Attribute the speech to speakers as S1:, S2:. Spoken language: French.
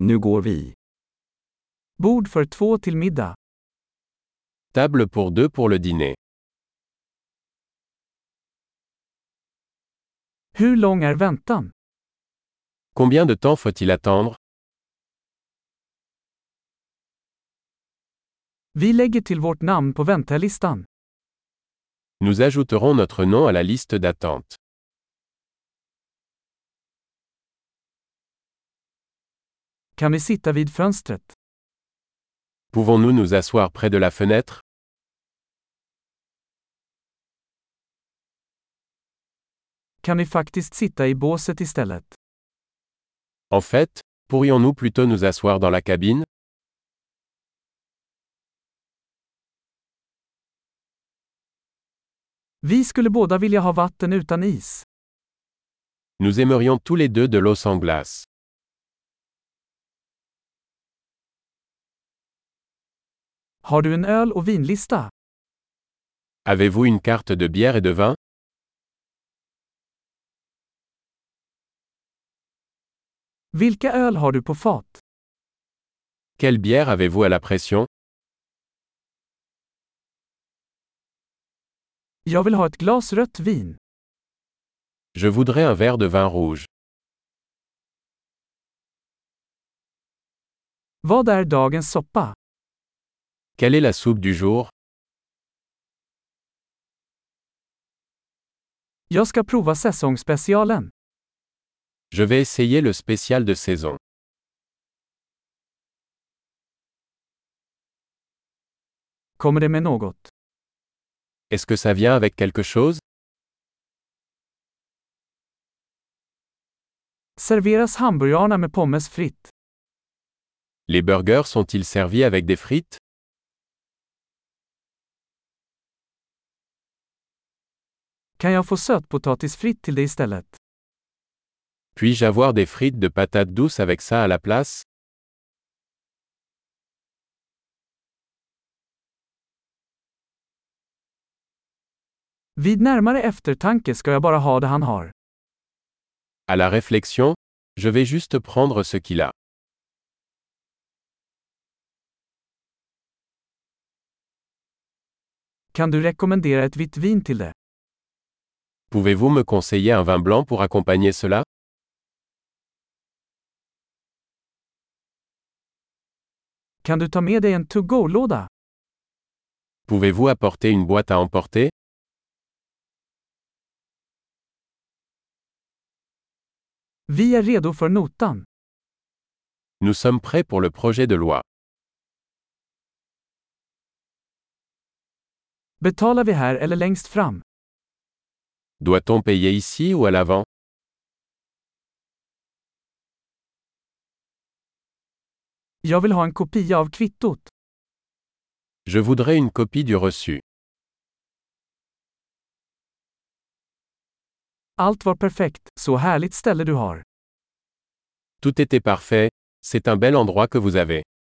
S1: Nu går vi.
S2: Bord för två till middag.
S3: Table pour deux pour le dîner.
S2: Hur lång är väntan?
S3: Combien de temps faut-il attendre
S2: Vi lägger till vårt namn på väntelistan.
S3: Nous ajouterons notre nom à la liste d'attente.
S2: Kan vi sitta vid fönstret?
S3: Pouvons-nous nous asseoir près de la fenêtre
S2: Kan vi faktiskt sitta i båset istället?
S3: En fait, pourrions-nous plutôt nous asseoir dans la cabine
S2: Vi skulle båda vilja ha vatten utan is.
S3: Nous aimerions tous les deux de l'eau sans glace.
S2: Har du en öl och vinlista?
S3: Avez-vous une carte de bière et de vin
S2: Vilka öl har du på fat?
S3: Quelle bière avez-vous à la pression
S2: Jag vill ha ett glas rött vin.
S3: Je voudrais un verre de vin rouge.
S2: Vad är dagens soppa?
S3: Quelle est la soupe du jour
S2: Jag ska prova säsongsspecialen.
S3: Je vais essayer le spécial de saison.
S2: Kommer det med något?
S3: Est-ce que ça vient avec quelque chose
S2: Serveras hamburgarna med pommes fritt?
S3: Les burgers sont-ils servis avec des frites
S2: Kan jag få sötpotatis fritt till det istället?
S3: Puis-je avoir des frites de patates douces avec ça à la place
S2: Vid närmare eftertanke ska jag bara ha det han har.
S3: À la réflexion, je vais juste prendre ce qu'il a.
S2: Kan du rekommendera ett vitt vin till det?
S3: Pouvez-vous me conseiller un vin blanc pour accompagner cela
S2: Kan du ta med dig en to-go-låda?
S3: Pouvez-vous apporter une boîte à emporter
S2: Vi är redo för notan.
S3: Nous sommes prêts pour le projet de loi.
S2: Betalar vi här eller längst fram?
S3: Doit-on payer ici ou à l'avant
S2: Jag vill ha en kopia av kvittot.
S3: Je voudrais une copie du reçu.
S2: Allt var perfekt, så härligt ställe du har.
S3: Tout était parfait, c'est un bel endroit que vous avez.